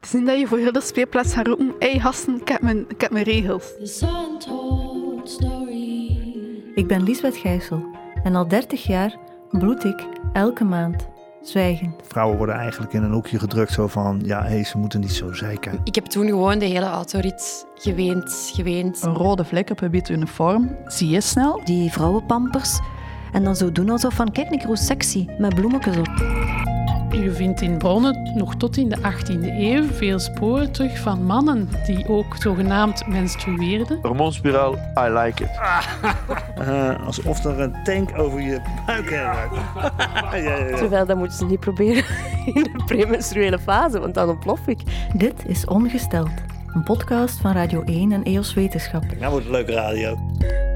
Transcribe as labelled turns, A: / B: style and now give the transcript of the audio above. A: Zien dat je voor heel de speelplaats gaat roepen, hey gasten, ik heb mijn, ik heb mijn regels.
B: This untold story.
C: Ik ben Liesbeth Gijssel en al 30 jaar bloed ik elke maand zwijgend.
D: Vrouwen worden eigenlijk in een hoekje gedrukt zo van, ja, hé, ze moeten niet zo zeiken.
E: Ik heb toen gewoon de hele autorit geweend, geweend.
F: Een rode vlek op een wit uniform. Zie je snel?
G: die vrouwenpampers. En dan zo doen alsof van, kijk, ik hoe sexy, met bloemetjes op.
H: Je vindt in bronnen nog tot in de 18e eeuw veel sporen terug van mannen die ook zogenaamd menstrueerden.
I: Hormoonspiraal, I like it.
D: Eh, alsof er een tank over je buik heen ruikt. ja, ja, ja.
J: Terwijl dat moeten ze niet proberen in de premenstruele fase, want dan ontplof ik.
C: Dit is Ongesteld, een podcast van Radio 1 en EOS Wetenschap.
D: Nou wordt het leuke radio.